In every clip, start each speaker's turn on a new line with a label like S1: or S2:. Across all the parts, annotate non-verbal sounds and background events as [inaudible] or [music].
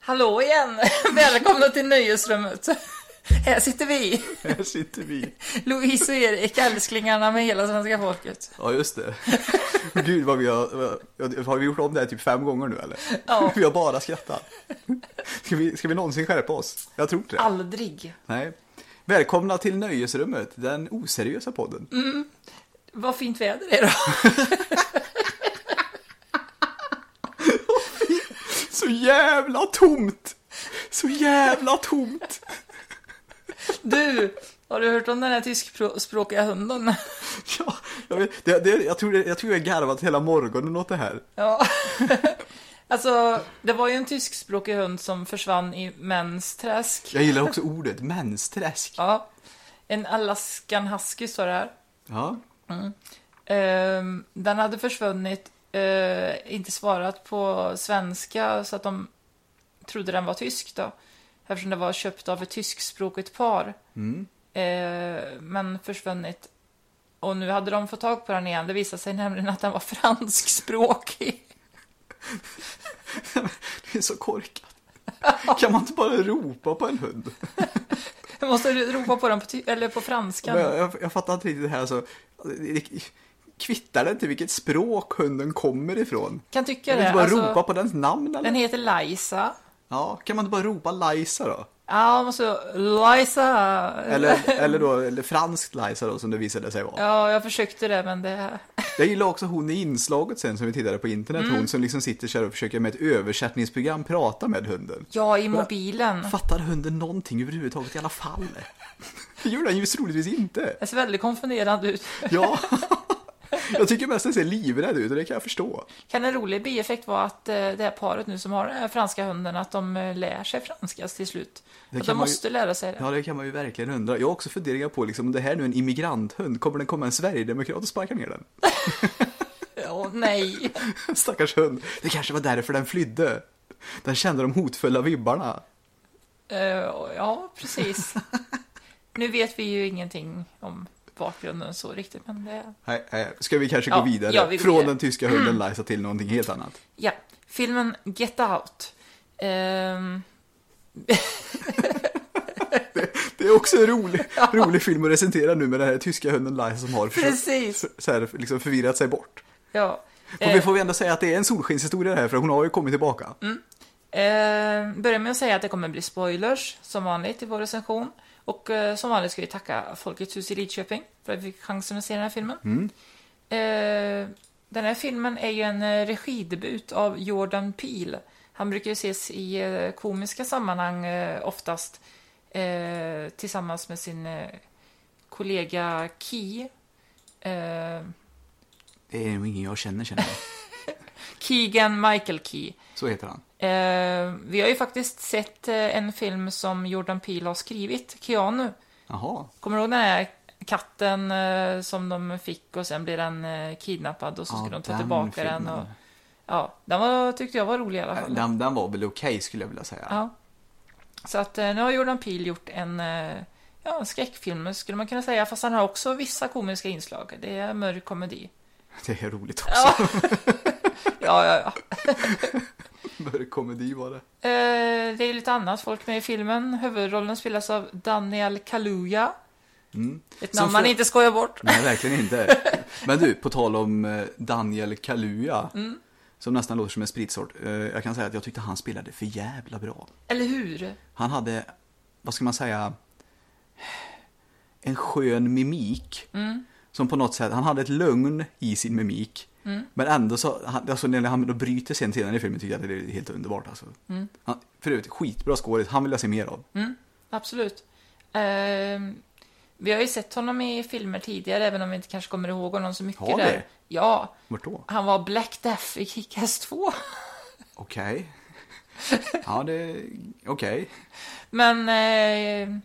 S1: Hallå igen! [laughs] Välkomna till Nöjesrummet! [laughs] Här sitter vi,
S2: Här sitter vi.
S1: Louise och Erik, älsklingarna med hela svenska folket.
S2: Ja, just det. Gud, vad vi har... vad- Har vi gjort om det här typ fem gånger nu eller?
S1: Ja.
S2: Vi har bara skrattat. Ska vi, ska vi någonsin skärpa oss? Jag tror inte det.
S1: Aldrig.
S2: Nej. Välkomna till Nöjesrummet, den oseriösa podden.
S1: Vad fint väder det är då. [laughs]
S2: Så jävla tomt! Så jävla tomt!
S1: Du, har du hört om den här tyskspråkiga hunden? [laughs]
S2: Ja, jag, vet, det, det, jag, tror det, jag tror jag har garvat hela morgonen åt det här.
S1: Ja. [laughs] Alltså, det var ju en tyskspråkig hund som försvann i mäns träsk.
S2: Jag gillar också ordet mensträsk.
S1: Ja. En Alaskan husky står det här.
S2: Ja.
S1: Ehm, den hade försvunnit, eh, inte svarat på svenska så att de trodde den var tysk då. Eftersom det var köpt av ett tyskspråkigt par.
S2: Mm.
S1: Eh, men försvunnit. Och nu hade de fått tag på den igen. Det visade sig nämligen att den var franskspråkig. [laughs]
S2: Det är så korkat. Kan man inte bara ropa på en hund?
S1: Jag måste ropa på den på, ty- eller på franska.
S2: Men jag, jag, jag fattar inte riktigt det här så. det- Kvittar det inte vilket språk hunden kommer ifrån?
S1: Kan tycka
S2: Kan man
S1: det.
S2: inte bara
S1: Alltså,
S2: ropa på dens namn eller?
S1: den heter Liza.
S2: Ja, kan man inte bara ropa
S1: [laughs]
S2: Lajsa då?
S1: Ja, man måste... Liza!
S2: Eller, eller då eller franskt Lajsa då som det visade sig vara.
S1: Ja, jag försökte det men det...
S2: Jag gillar också hon i inslaget sen som vi tittade på internet.
S1: Mm.
S2: Hon som liksom sitter så här och försöker med ett översättningsprogram prata med hunden.
S1: Ja, i mobilen.
S2: Fattar hunden någonting överhuvudtaget i alla fall? Det gör den ju troligtvis inte.
S1: Det ser väldigt konfunderande ut. [laughs]
S2: Ja. Jag tycker mest den ser livrädd ut och det kan jag förstå.
S1: Kan en rolig bieffekt vara att eh, det här paret nu som har den här franska hunden, att de eh, lär sig franska till slut? Att de
S2: kan man ju-
S1: måste lära sig det.
S2: Ja, det kan man ju verkligen undra. Jag har också funderingar på, liksom, om det här nu är en immigranthund, kommer den komma en sverigedemokrat och sparka ner den? [laughs]
S1: Åh nej!
S2: Stackars hund. Det kanske var därför den flydde. Den kände de hotfulla vibbarna.
S1: Eh, ja,
S2: [laughs]
S1: precis. Nu vet vi ju ingenting om bakgrunden så riktigt, men det...
S2: Nej, nej. Ska vi kanske
S1: Ja,
S2: gå vidare?
S1: ja, vi går
S2: Från
S1: vidare. Mm.
S2: den tyska hunden Liza till någonting helt annat.
S1: Ja, filmen Get Out. Ehm,
S2: Det är också
S1: [laughs]
S2: en rolig, rolig film att recensera nu med den här tyska hunden Liza som har försökt,
S1: precis!
S2: så här, liksom förvirrat sig bort.
S1: Ja.
S2: Och vi
S1: Eh, Mm.
S2: får väl ändå säga att det är en solskenshistoria det här, för hon har ju kommit tillbaka.
S1: Eh, börjar med att säga att det kommer bli spoilers som vanligt i vår recension. Och eh, som vanligt ska vi tacka Folkets hus i Lidköping för att vi fick chansen att se den här filmen. Eh, den här filmen är ju en eh, regidebut av Jordan Peele. Han brukar ju ses i eh, komiska sammanhang eh, oftast eh, tillsammans med sin eh, kollega Key. Eh,
S2: Det är nog ingen jag känner, känner jag.
S1: Keegan Michael Key.
S2: Så heter han.
S1: Eh, vi har ju faktiskt sett eh, en film som Jordan Peele har skrivit, Keanu.
S2: Jaha.
S1: Kommer du ihåg den här katten eh, som de fick och sen blev den eh, kidnappad och så
S2: Ja,
S1: skulle de ta
S2: den
S1: tillbaka den.
S2: filmen.
S1: Och, ja, den var, tyckte jag var rolig i alla fall.
S2: Den, den var väl okej, skulle jag vilja säga.
S1: Alltså, Ja. Så att eh, nu har Jordan Peele gjort en eh, ja, en skräckfilm skulle man kunna säga, fast han har också vissa komiska inslag. Det är mörk komedi.
S2: Det är roligt också.
S1: Ja, ja, ja. ja.
S2: [laughs] Mörk komedi var det.
S1: Eh, det är lite annat folk med i filmen. Huvudrollen spelas av Daniel Kaluuya. Ett
S2: Mm. Som
S1: namn man
S2: för-
S1: inte skojar bort.
S2: Nej, verkligen inte. Men du, på tal om eh, Daniel Kaluuya.
S1: Mm.
S2: Som nästan låter som en spritsort. Eh, Jag kan säga att jag tyckte han spelade för jävla bra.
S1: Eller hur?
S2: Han hade, vad ska man säga, en skön mimik.
S1: Mm.
S2: Som på något sätt, han hade ett lugn i sin mimik.
S1: Mm.
S2: Men ändå så, han- alltså när han då bryter sen senare i filmen tycker jag att det är helt underbart alltså.
S1: Mm.
S2: Han, för övrigt, skitbra skådis, han vill jag se mer av.
S1: Absolut. Ehm, vi har ju sett honom i filmer tidigare, även om vi inte kanske kommer ihåg honom så mycket
S2: Har vi?
S1: där. Ja,
S2: Vart då?
S1: han var Black Death i Kick-Ass 2.
S2: Okej. [laughs] Ja, det... Okej.
S1: [laughs] Men... ehm,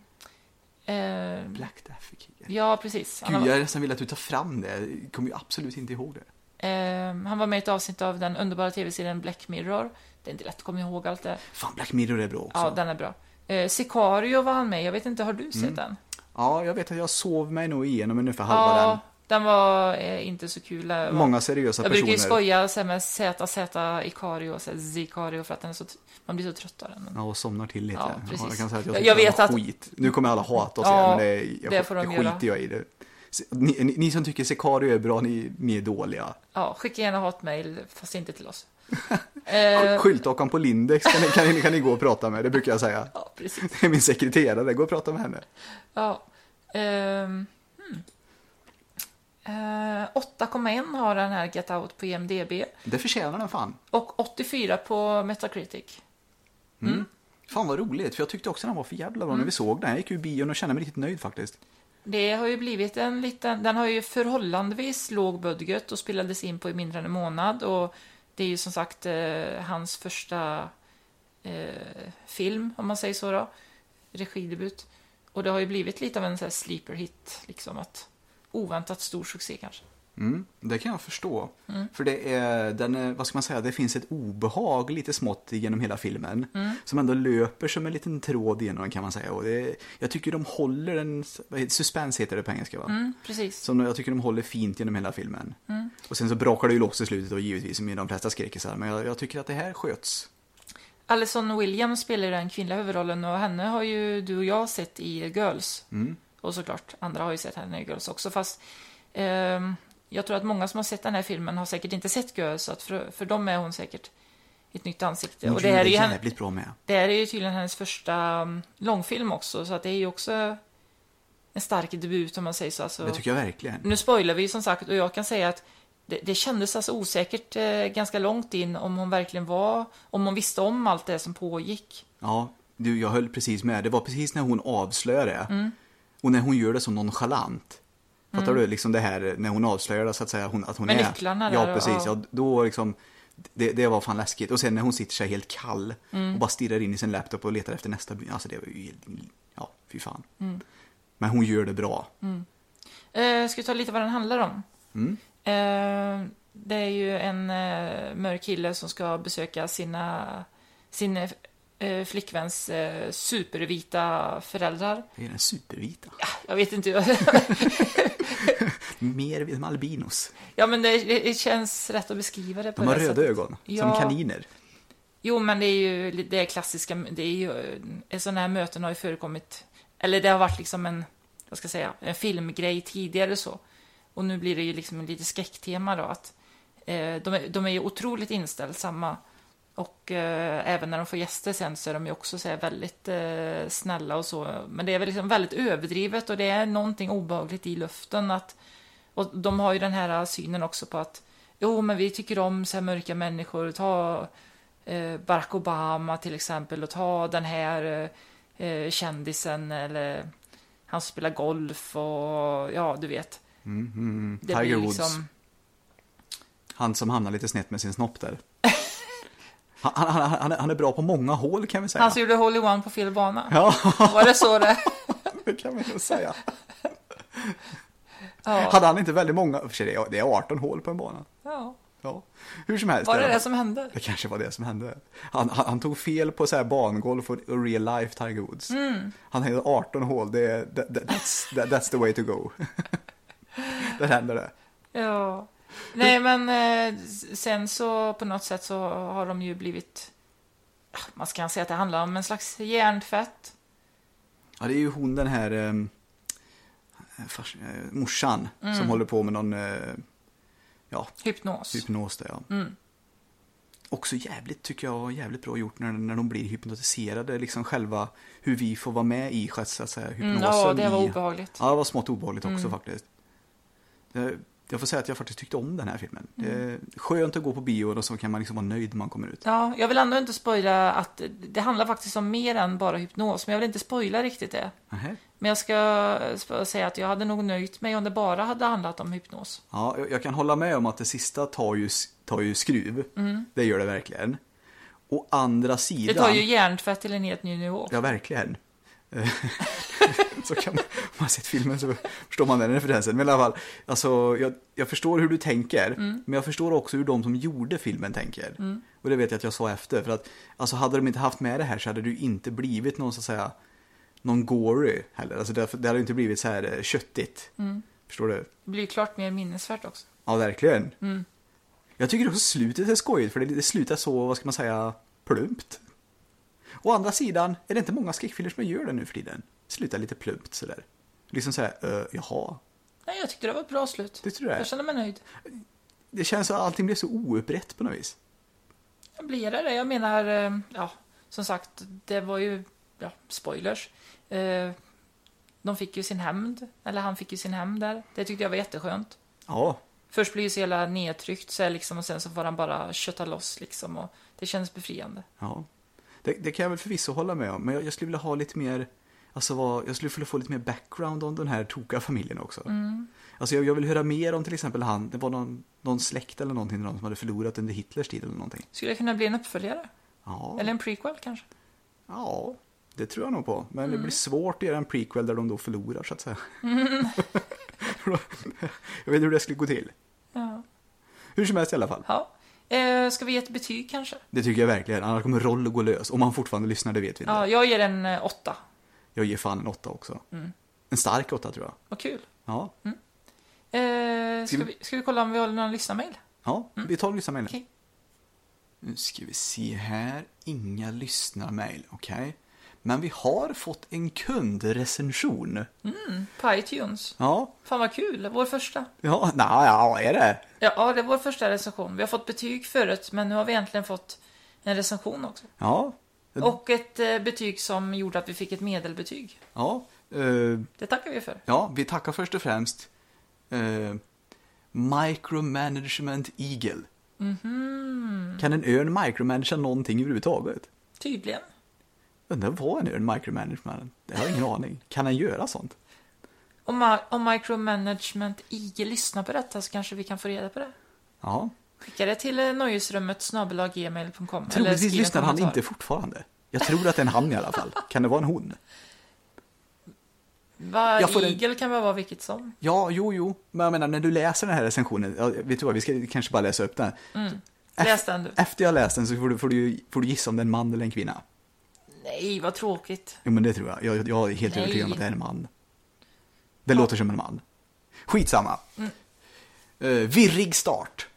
S1: ehm,
S2: Black Death i Kick-Ass.
S1: ja, precis. Han,
S2: Gud,
S1: har,
S2: jag nästan vill att du tar fram det. Jag kommer ju absolut inte ihåg det.
S1: ehm, han var med i ett avsnitt av den underbara tv-serien Black Mirror. Det är inte lätt att komma ihåg allt det.
S2: Fan, Black Mirror är bra också.
S1: Ja, den är bra. Eh,
S2: Mm.
S1: Sicario var han med Jag vet inte, har du sett den?
S2: Ja, jag vet att jag sov mig nog igenom ungefär halva
S1: ja,
S2: den.
S1: Den var eh, inte så kul. Det var-
S2: Många seriösa
S1: jag brukar
S2: personer.
S1: ju skoja så här, med ZZ Ikario och så här, Zikario för att den är så, t- man blir så trött av den. Men
S2: Ja, och somnar till lite.
S1: Ja, precis.
S2: jag kan säga att jag,
S1: Jag
S2: tycker
S1: vet
S2: det var
S1: att-
S2: skit. Nu kommer alla hata oss
S1: Ja,
S2: igen, men det, jag,
S1: det får de
S2: det
S1: göra.
S2: skiter jag i. Det. Se- Ni, ni, ni som tycker Sicario är bra, ni, ni är dåliga.
S1: Ja, skicka gärna hatmejl, fast inte till
S2: [laughs]
S1: oss. eh,
S2: Skyltdockan på Lindex kan ni, kan, ni, kan ni gå och prata med, det brukar jag säga. [laughs]
S1: ja, precis.
S2: Det är min sekreterare, gå och prata med henne.
S1: Ja. Ehm, hmm. eh, 8,1 har den här Get Out på IMDB
S2: Det förtjänar den fan.
S1: och 84 på Metacritic.
S2: Fan vad roligt, för jag tyckte också den var för jävla bra
S1: Mm.
S2: när vi såg den. Jag gick ur bion och kände mig riktigt nöjd faktiskt.
S1: Det har ju blivit en liten, den har ju förhållandevis låg budget och spelades in på i mindre än en månad och det är ju som sagt eh, hans första eh, film, om man säger så då, regidebut. Och det har ju blivit lite av en så här sleeper hit, liksom att oväntat stor succé kanske.
S2: Mm, det kan jag förstå.
S1: Mm.
S2: För det är, den är, vad ska man säga, det finns ett obehag lite smått genom hela filmen.
S1: Mm.
S2: Som ändå löper som en liten tråd genom den kan man säga. Och det, jag tycker de håller en, vad heter- suspense heter det på engelska va?
S1: Mm, precis.
S2: Som jag tycker de håller fint genom hela filmen. Och sen så brakar det ju loss i slutet och givetvis som i de flesta skräckisar. Men jag, jag tycker att det här sköts.
S1: Alison Williams spelar ju den kvinnliga huvudrollen och henne har ju du och jag sett i Girls.
S2: Mm.
S1: Och såklart, andra har ju sett henne i Girls också. Fast ehm, jag tror att många som har sett den här filmen har säkert inte sett Girls. Så att för, för dem är hon säkert ett nytt ansikte.
S2: Och
S1: och det här, är ju henne,
S2: jävligt bra med.
S1: det här är ju tydligen hennes första um, långfilm också. Så att det är ju också en stark debut om man säger så. Alltså,
S2: Det tycker jag verkligen.
S1: nu spoilar vi ju som sagt och jag kan säga att det, det kändes alltså osäkert eh, ganska långt in om hon verkligen var, om hon visste om allt det som pågick.
S2: Ja, du, jag höll precis med. Det var precis när hon avslöjade det.
S1: Mm.
S2: Och när hon gör det så nonchalant. Fattar du? Liksom det här när hon avslöjar det, så att säga. Hon, att hon
S1: Med
S2: är...
S1: nycklarna
S2: Ja,
S1: där och-
S2: precis. Ja,
S1: ja.
S2: då liksom... Det, det var fan läskigt. Och sen när hon sitter sig helt kall
S1: Mm.
S2: och bara stirrar in i sin laptop och letar efter nästa... Alltså det var ju helt... Ja, fy fan.
S1: Mm.
S2: Men hon gör det bra.
S1: Eh, ska vi ta lite vad den handlar om?
S2: Mm.
S1: Eh, det är ju en eh, mörk kille som ska besöka sina, sin eh, flickväns eh, supervita föräldrar.
S2: Det är den supervita.
S1: Jag vet inte, [laughs] hur-
S2: Mer som albinos.
S1: ja men det, det känns rätt att beskriva det på
S2: De har
S1: det
S2: röda
S1: sättet.
S2: ögon,
S1: alltså- Ja.
S2: som kaniner.
S1: Jo, men det är ju det är klassiska, det är ju, eh, sådana här möten har ju förekommit, eller det har varit liksom en, vad ska jag säga, en filmgrej tidigare så. Och nu blir det ju liksom lite skräcktema då, att eh, de, är, de är ju otroligt inställsamma. Och eh, även när de får gäster sen så är de ju också så här, väldigt eh, snälla och så. Men det är väl liksom väldigt överdrivet och det är någonting obehagligt i luften att och de har ju den här synen också på att jo, men vi tycker om så här mörka människor. Ta eh, Barack Obama till exempel och ta den här eh, eh, kändisen eller han som spelar golf och ja, du vet.
S2: Mm, mm.
S1: Det
S2: Tiger
S1: blir liksom-
S2: Woods. Han som hamnar lite snett med sin snopp där. [laughs] Han, han, han, han är- han är bra på många hål kan vi säga.
S1: Han som gjorde Holy One på fel bana.
S2: Ja,
S1: Var det så det?
S2: [laughs] det kan vi nog säga.
S1: Ja.
S2: Hade han inte väldigt många, för sig, det är- det är 18 hål på en bana.
S1: ja.
S2: Ja. Hur som helst.
S1: Var det
S2: där-
S1: det som hände?
S2: det kanske var det som hände. Han, han, han tog fel på så här bangolf och och real life Tiger Woods.
S1: Mm.
S2: Han hade 18 hål, det, är- that, that, that's, that, that's the way to go. [laughs] Där händer det.
S1: Ja. Nej, men eh, s- sen så på något sätt så har de ju blivit... Ah, Man ska säga att det handlar om en slags hjärntvätt.
S2: Ja, det är ju hon den här eh, fars, eh, morsan
S1: Mm.
S2: som håller på med någon eh, ja,
S1: Hypnos.
S2: hypnos där, ja.
S1: Mm.
S2: Också jävligt, tycker jag, jävligt bra gjort när, när de blir hypnotiserade, liksom själva hur vi får vara med i själva, så att säga,
S1: Mm,
S2: hypnosen.
S1: ja, det var Mm.
S2: i-
S1: obehagligt.
S2: Ja, det var smått obehagligt också faktiskt. Det, jag får säga att jag faktiskt tyckte om den här filmen. Det
S1: Mm.
S2: är skönt att gå på bio och så kan man liksom vara nöjd när man kommer ut.
S1: Ja, jag vill ändå inte spoila att det handlar faktiskt om mer än bara hypnos, men jag vill inte spoila riktigt det.
S2: Nähä.
S1: Men jag ska sp- säga att jag hade nog nöjt mig om det bara hade handlat om hypnos.
S2: Ja, jag- jag kan hålla med om att det sista tar ju, tar ju skruv. Det gör det verkligen. Å andra
S1: Mm. Det
S2: sidan...
S1: tar ju hjärntvätt till en helt ny nivå.
S2: Ja, verkligen. [laughs] Eh, så kan man, om man har sett filmen så förstår man den referensen. Men i alla fall, alltså, jag, jag förstår hur du tänker. Men jag förstår också hur de som gjorde filmen tänker. Och det vet jag att jag sa efter. För att alltså, hade de inte haft med det här så hade det ju inte
S1: Mm.
S2: blivit någon så att säga någon gory heller. Alltså, det, det hade ju inte blivit så här eh, köttigt. Förstår du?
S1: Det blir ju klart mer minnesvärt också.
S2: Ja, verkligen. Jag tycker också slutet är skojigt för det, det slutar så, vad ska man säga, plumpt. Å andra sidan är det inte många skräckfilmer som gör det nu för tiden. Slutar lite plumpt sådär. Liksom såhär, uh, jaha.
S1: Nej, jag tyckte det var ett bra slut.
S2: Tyckte du det?
S1: Jag känner mig nöjd.
S2: Det känns som att allting blir så oupprätt på något vis.
S1: Jag blir det. Jag menar, eh, ja, som sagt, det var ju, ja, spoilers. Eh, De fick ju sin hämnd, eller han fick ju sin hämnd där. Det tyckte jag var jätteskönt.
S2: Ja,
S1: Först blir ju så hela nedtryckt så här, liksom, och sen så får han bara kötta loss liksom och det kändes befriande.
S2: ja. Det, det kan jag väl förvisso hålla med om, men jag, jag skulle vilja ha lite mer, alltså vad, jag skulle vilja få lite mer background om den här tokiga familjen också. Alltså jag, jag vill höra mer om till exempel han, det var någon, någon släkt eller någonting någon som hade förlorat under Hitlers tid eller någonting.
S1: Skulle det kunna bli en uppföljare?
S2: Ja.
S1: Eller en prequel kanske?
S2: Ja, det tror jag nog på. Men
S1: Mm.
S2: det blir svårt att göra en prequel där de då förlorar så att säga.
S1: Mm.
S2: [laughs] jag vet inte hur det skulle gå till.
S1: Ja.
S2: Hur som helst i alla fall.
S1: ja. Eh, ska vi ge ett betyg kanske?
S2: Det tycker jag verkligen. Annars kommer roll att gå lös. Om han fortfarande lyssnar, det vet vi inte.
S1: Ja, jag ger en eh, åtta.
S2: Jag ger fan en åtta också.
S1: Mm.
S2: En stark åtta tror jag.
S1: Vad kul.
S2: Ja,
S1: Eh,
S2: Ska
S1: ska,
S2: vi-
S1: vi, ska vi kolla om vi har någon lyssnarmail?
S2: ja vi tar lyssnarmailen.
S1: Mm. Okej.
S2: Nu ska vi se här. Inga lyssnarmail, okej. Men vi har fått en kundrecension.
S1: På iTunes.
S2: Ja,
S1: Fan vad kul, vår första.
S2: ja, nej, ja, är det?
S1: Ja, ja, det är vår första recension. Vi har fått betyg förut, men nu har vi äntligen fått en recension också.
S2: Ja,
S1: Och ett eh, betyg som gjorde att vi fick ett medelbetyg.
S2: ja. eh,
S1: Det tackar vi för.
S2: Ja, vi tackar först och främst eh, Micromanagement Eagle.
S1: Mhm.
S2: Kan en örn micromanagera någonting överhuvudtaget?
S1: Tydligen.
S2: Undrar vad en örn micromanagerar? Det har jag ingen aning. Kan han göra sånt?
S1: Om, ma- om Micromanagement IG lyssnar på detta så kanske vi kan få reda på det.
S2: Ja.
S1: Skicka det till eh, nöjesrummet snabelaggmail.com.
S2: Troligtvis lyssnar han inte fortfarande. Jag tror att det är en han i alla fall. Kan det vara en hon?
S1: Va,
S2: Jag får en-
S1: Eagle kan väl vara vilket som.
S2: Ja, jo, jo. Men jag menar, när du läser den här recensionen, ja, vet du vad, vi ska kanske bara läsa upp den.
S1: Mm. Läs den du.
S2: Efter jag läst den så får du, får, du, får du gissa om det är en man eller en kvinna.
S1: Nej, vad tråkigt.
S2: Jo men det tror jag. Jag, jag är helt
S1: Nej.
S2: övertygad om att det är en man. Det låter som en man. Skitsamma. Eh, virrig start.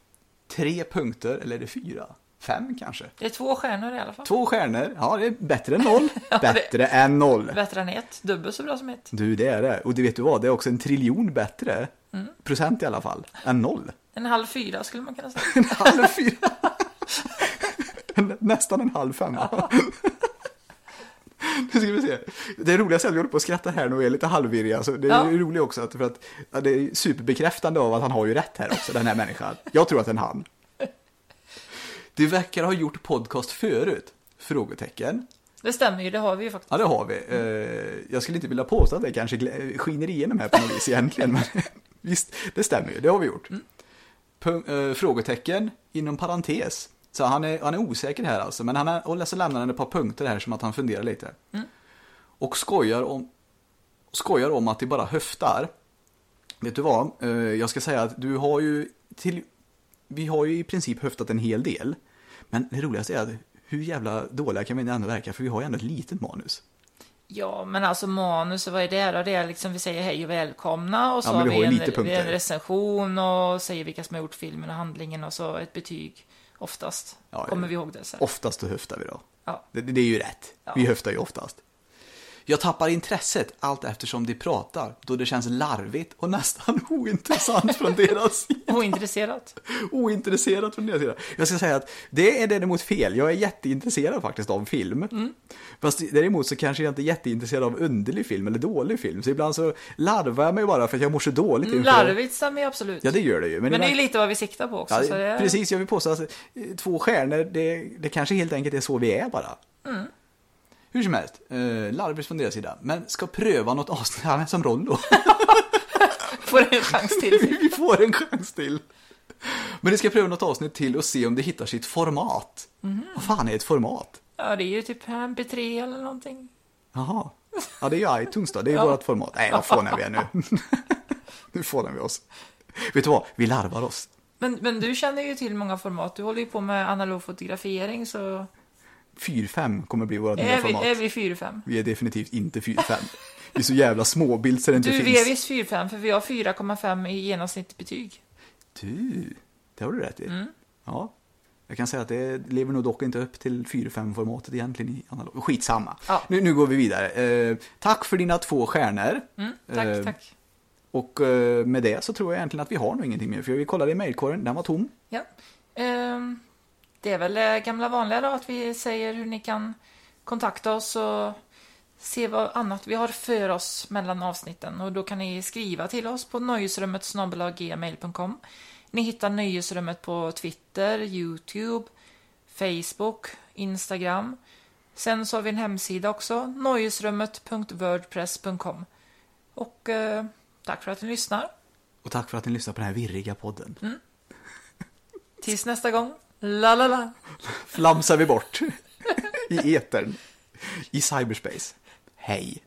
S2: Tre punkter, eller är det fyra? Fem kanske?
S1: Det är två stjärnor i alla fall.
S2: Två stjärnor. Ja, det är bättre än noll. bättre än noll.
S1: Bättre än ett. Dubbelt så bra som ett.
S2: Du, det är det. Och det vet du vad, det är också en triljon bättre, procent i alla fall, än noll.
S1: En halv fyra skulle man kunna säga.
S2: En halv fyra. En- Nästan en halv femma. Nu ska vi se. Det roligaste är att vi håller på att skratta här nu och är lite halvvirriga. Så det är
S1: Ja.
S2: roligt också att, för att ja, det är superbekräftande av att han har ju rätt här också, den här människan. Jag tror att det är en han. Du verkar ha gjort podcast förut? Frågetecken.
S1: Det stämmer ju, det har vi ju faktiskt.
S2: Ja, det har vi. Eh, Jag skulle inte vilja påstå att det kanske glä- skiner igenom här på något vis egentligen, men [laughs] visst, det stämmer ju. Det har vi gjort. Punk- eh, Frågetecken inom parentes. Så han är, han är osäker här alltså, men han är, och så lämnar han ett par punkter här som att han funderar lite. Och skojar om, skojar om att det bara höftar. Vet du vad? Eh, Jag ska säga att du har ju till... Vi har ju i princip höftat en hel del. Men det roligaste är att hur jävla dåliga kan vi ändå verka? För vi har ju ändå ett litet manus.
S1: Ja, men alltså manus, vad är det då? Det är liksom vi säger hej och välkomna och så
S2: Ja, men
S1: har
S2: du har
S1: vi
S2: ju
S1: en,
S2: lite punkter.
S1: vi en recension och säger vilka som har gjort filmen och handlingen och så ett betyg. Oftast
S2: Ja,
S1: kommer
S2: ja.
S1: vi ihåg det sen.
S2: Oftast då höftar vi då.
S1: Ja.
S2: Det, det är ju rätt.
S1: Ja.
S2: Vi höftar ju oftast. Jag tappar intresset allt eftersom de pratar då det känns larvigt och nästan [laughs] ointressant från deras sida. [laughs]
S1: Ointresserat.
S2: Ointresserat från deras sida. Jag ska säga att det är däremot fel. Jag är jätteintresserad faktiskt av film.
S1: Mm.
S2: Fast däremot så kanske jag inte är jätteintresserad av underlig film eller dålig film. Så ibland så larvar jag mig bara för att jag mår så dåligt. inför-
S1: Mm, Larvigt stämmer ju absolut.
S2: Ja, det gör det ju.
S1: men det är ju
S2: ibland-
S1: lite vad vi siktar på också.
S2: Ja,
S1: så det...
S2: Precis, jag vill påstå att eh, två stjärnor, det, det kanske helt enkelt är så vi är bara.
S1: Mm.
S2: Hur som helst, eh, larvigt från deras sida. Men ska pröva något avsnitt, [laughs] han är som Rollo.
S1: [laughs] Får en chans till.
S2: vi får en chans till. Men de ska pröva något avsnitt till och se om det hittar sitt format.
S1: Mhm.
S2: Vad fan är ett format?
S1: Ja, det är ju typ MP3 eller någonting.
S2: Jaha. Ja, det är ju iTunes då, det är ju vårt format. Nej, vad fåniga vi
S1: [laughs]
S2: är nu. nu fånar vi oss. Vet du vad, vi larvar oss.
S1: Men, men du känner ju till många format. Du håller ju på med analog fotografering så
S2: 4-5 kommer bli vårt nya
S1: Är vi,
S2: format.
S1: är vi 4-5?
S2: Vi är definitivt inte 4-5. Vi är så jävla småbild så det inte
S1: Du, vi är
S2: finns.
S1: visst 4-5 för vi har 4,5 i genomsnittligt betyg.
S2: Du, det har du rätt i.
S1: Mm.
S2: Ja. Jag kan säga att det lever nog dock inte upp till 4-5-formatet egentligen i analog. Skitsamma.
S1: Ja.
S2: Nu, nu går vi vidare. Eh, tack för dina två stjärnor.
S1: Mm, tack,
S2: Eh,
S1: tack.
S2: Och eh, med det så tror jag egentligen att vi har nog ingenting mer. För vi kollade i mejlkorgen, den var tom.
S1: Ja. Ehm, det är väl eh, gamla vanliga då, att vi säger hur ni kan kontakta oss och se vad annat vi har för oss mellan avsnitten. Och då kan ni skriva till oss på nöjesrummet snabel-a-gmail.com. Ni hittar Nöjesrummet på Twitter, Youtube, Facebook, Instagram. Sen så har vi en hemsida också, nöjesrummet.wordpress.com. Och eh, tack för att ni lyssnar.
S2: Och tack för att ni lyssnar på den här virriga podden.
S1: Mm. Tills nästa gång, la la la!
S2: [laughs] Flamsar vi bort i etern. I cyberspace. Hej.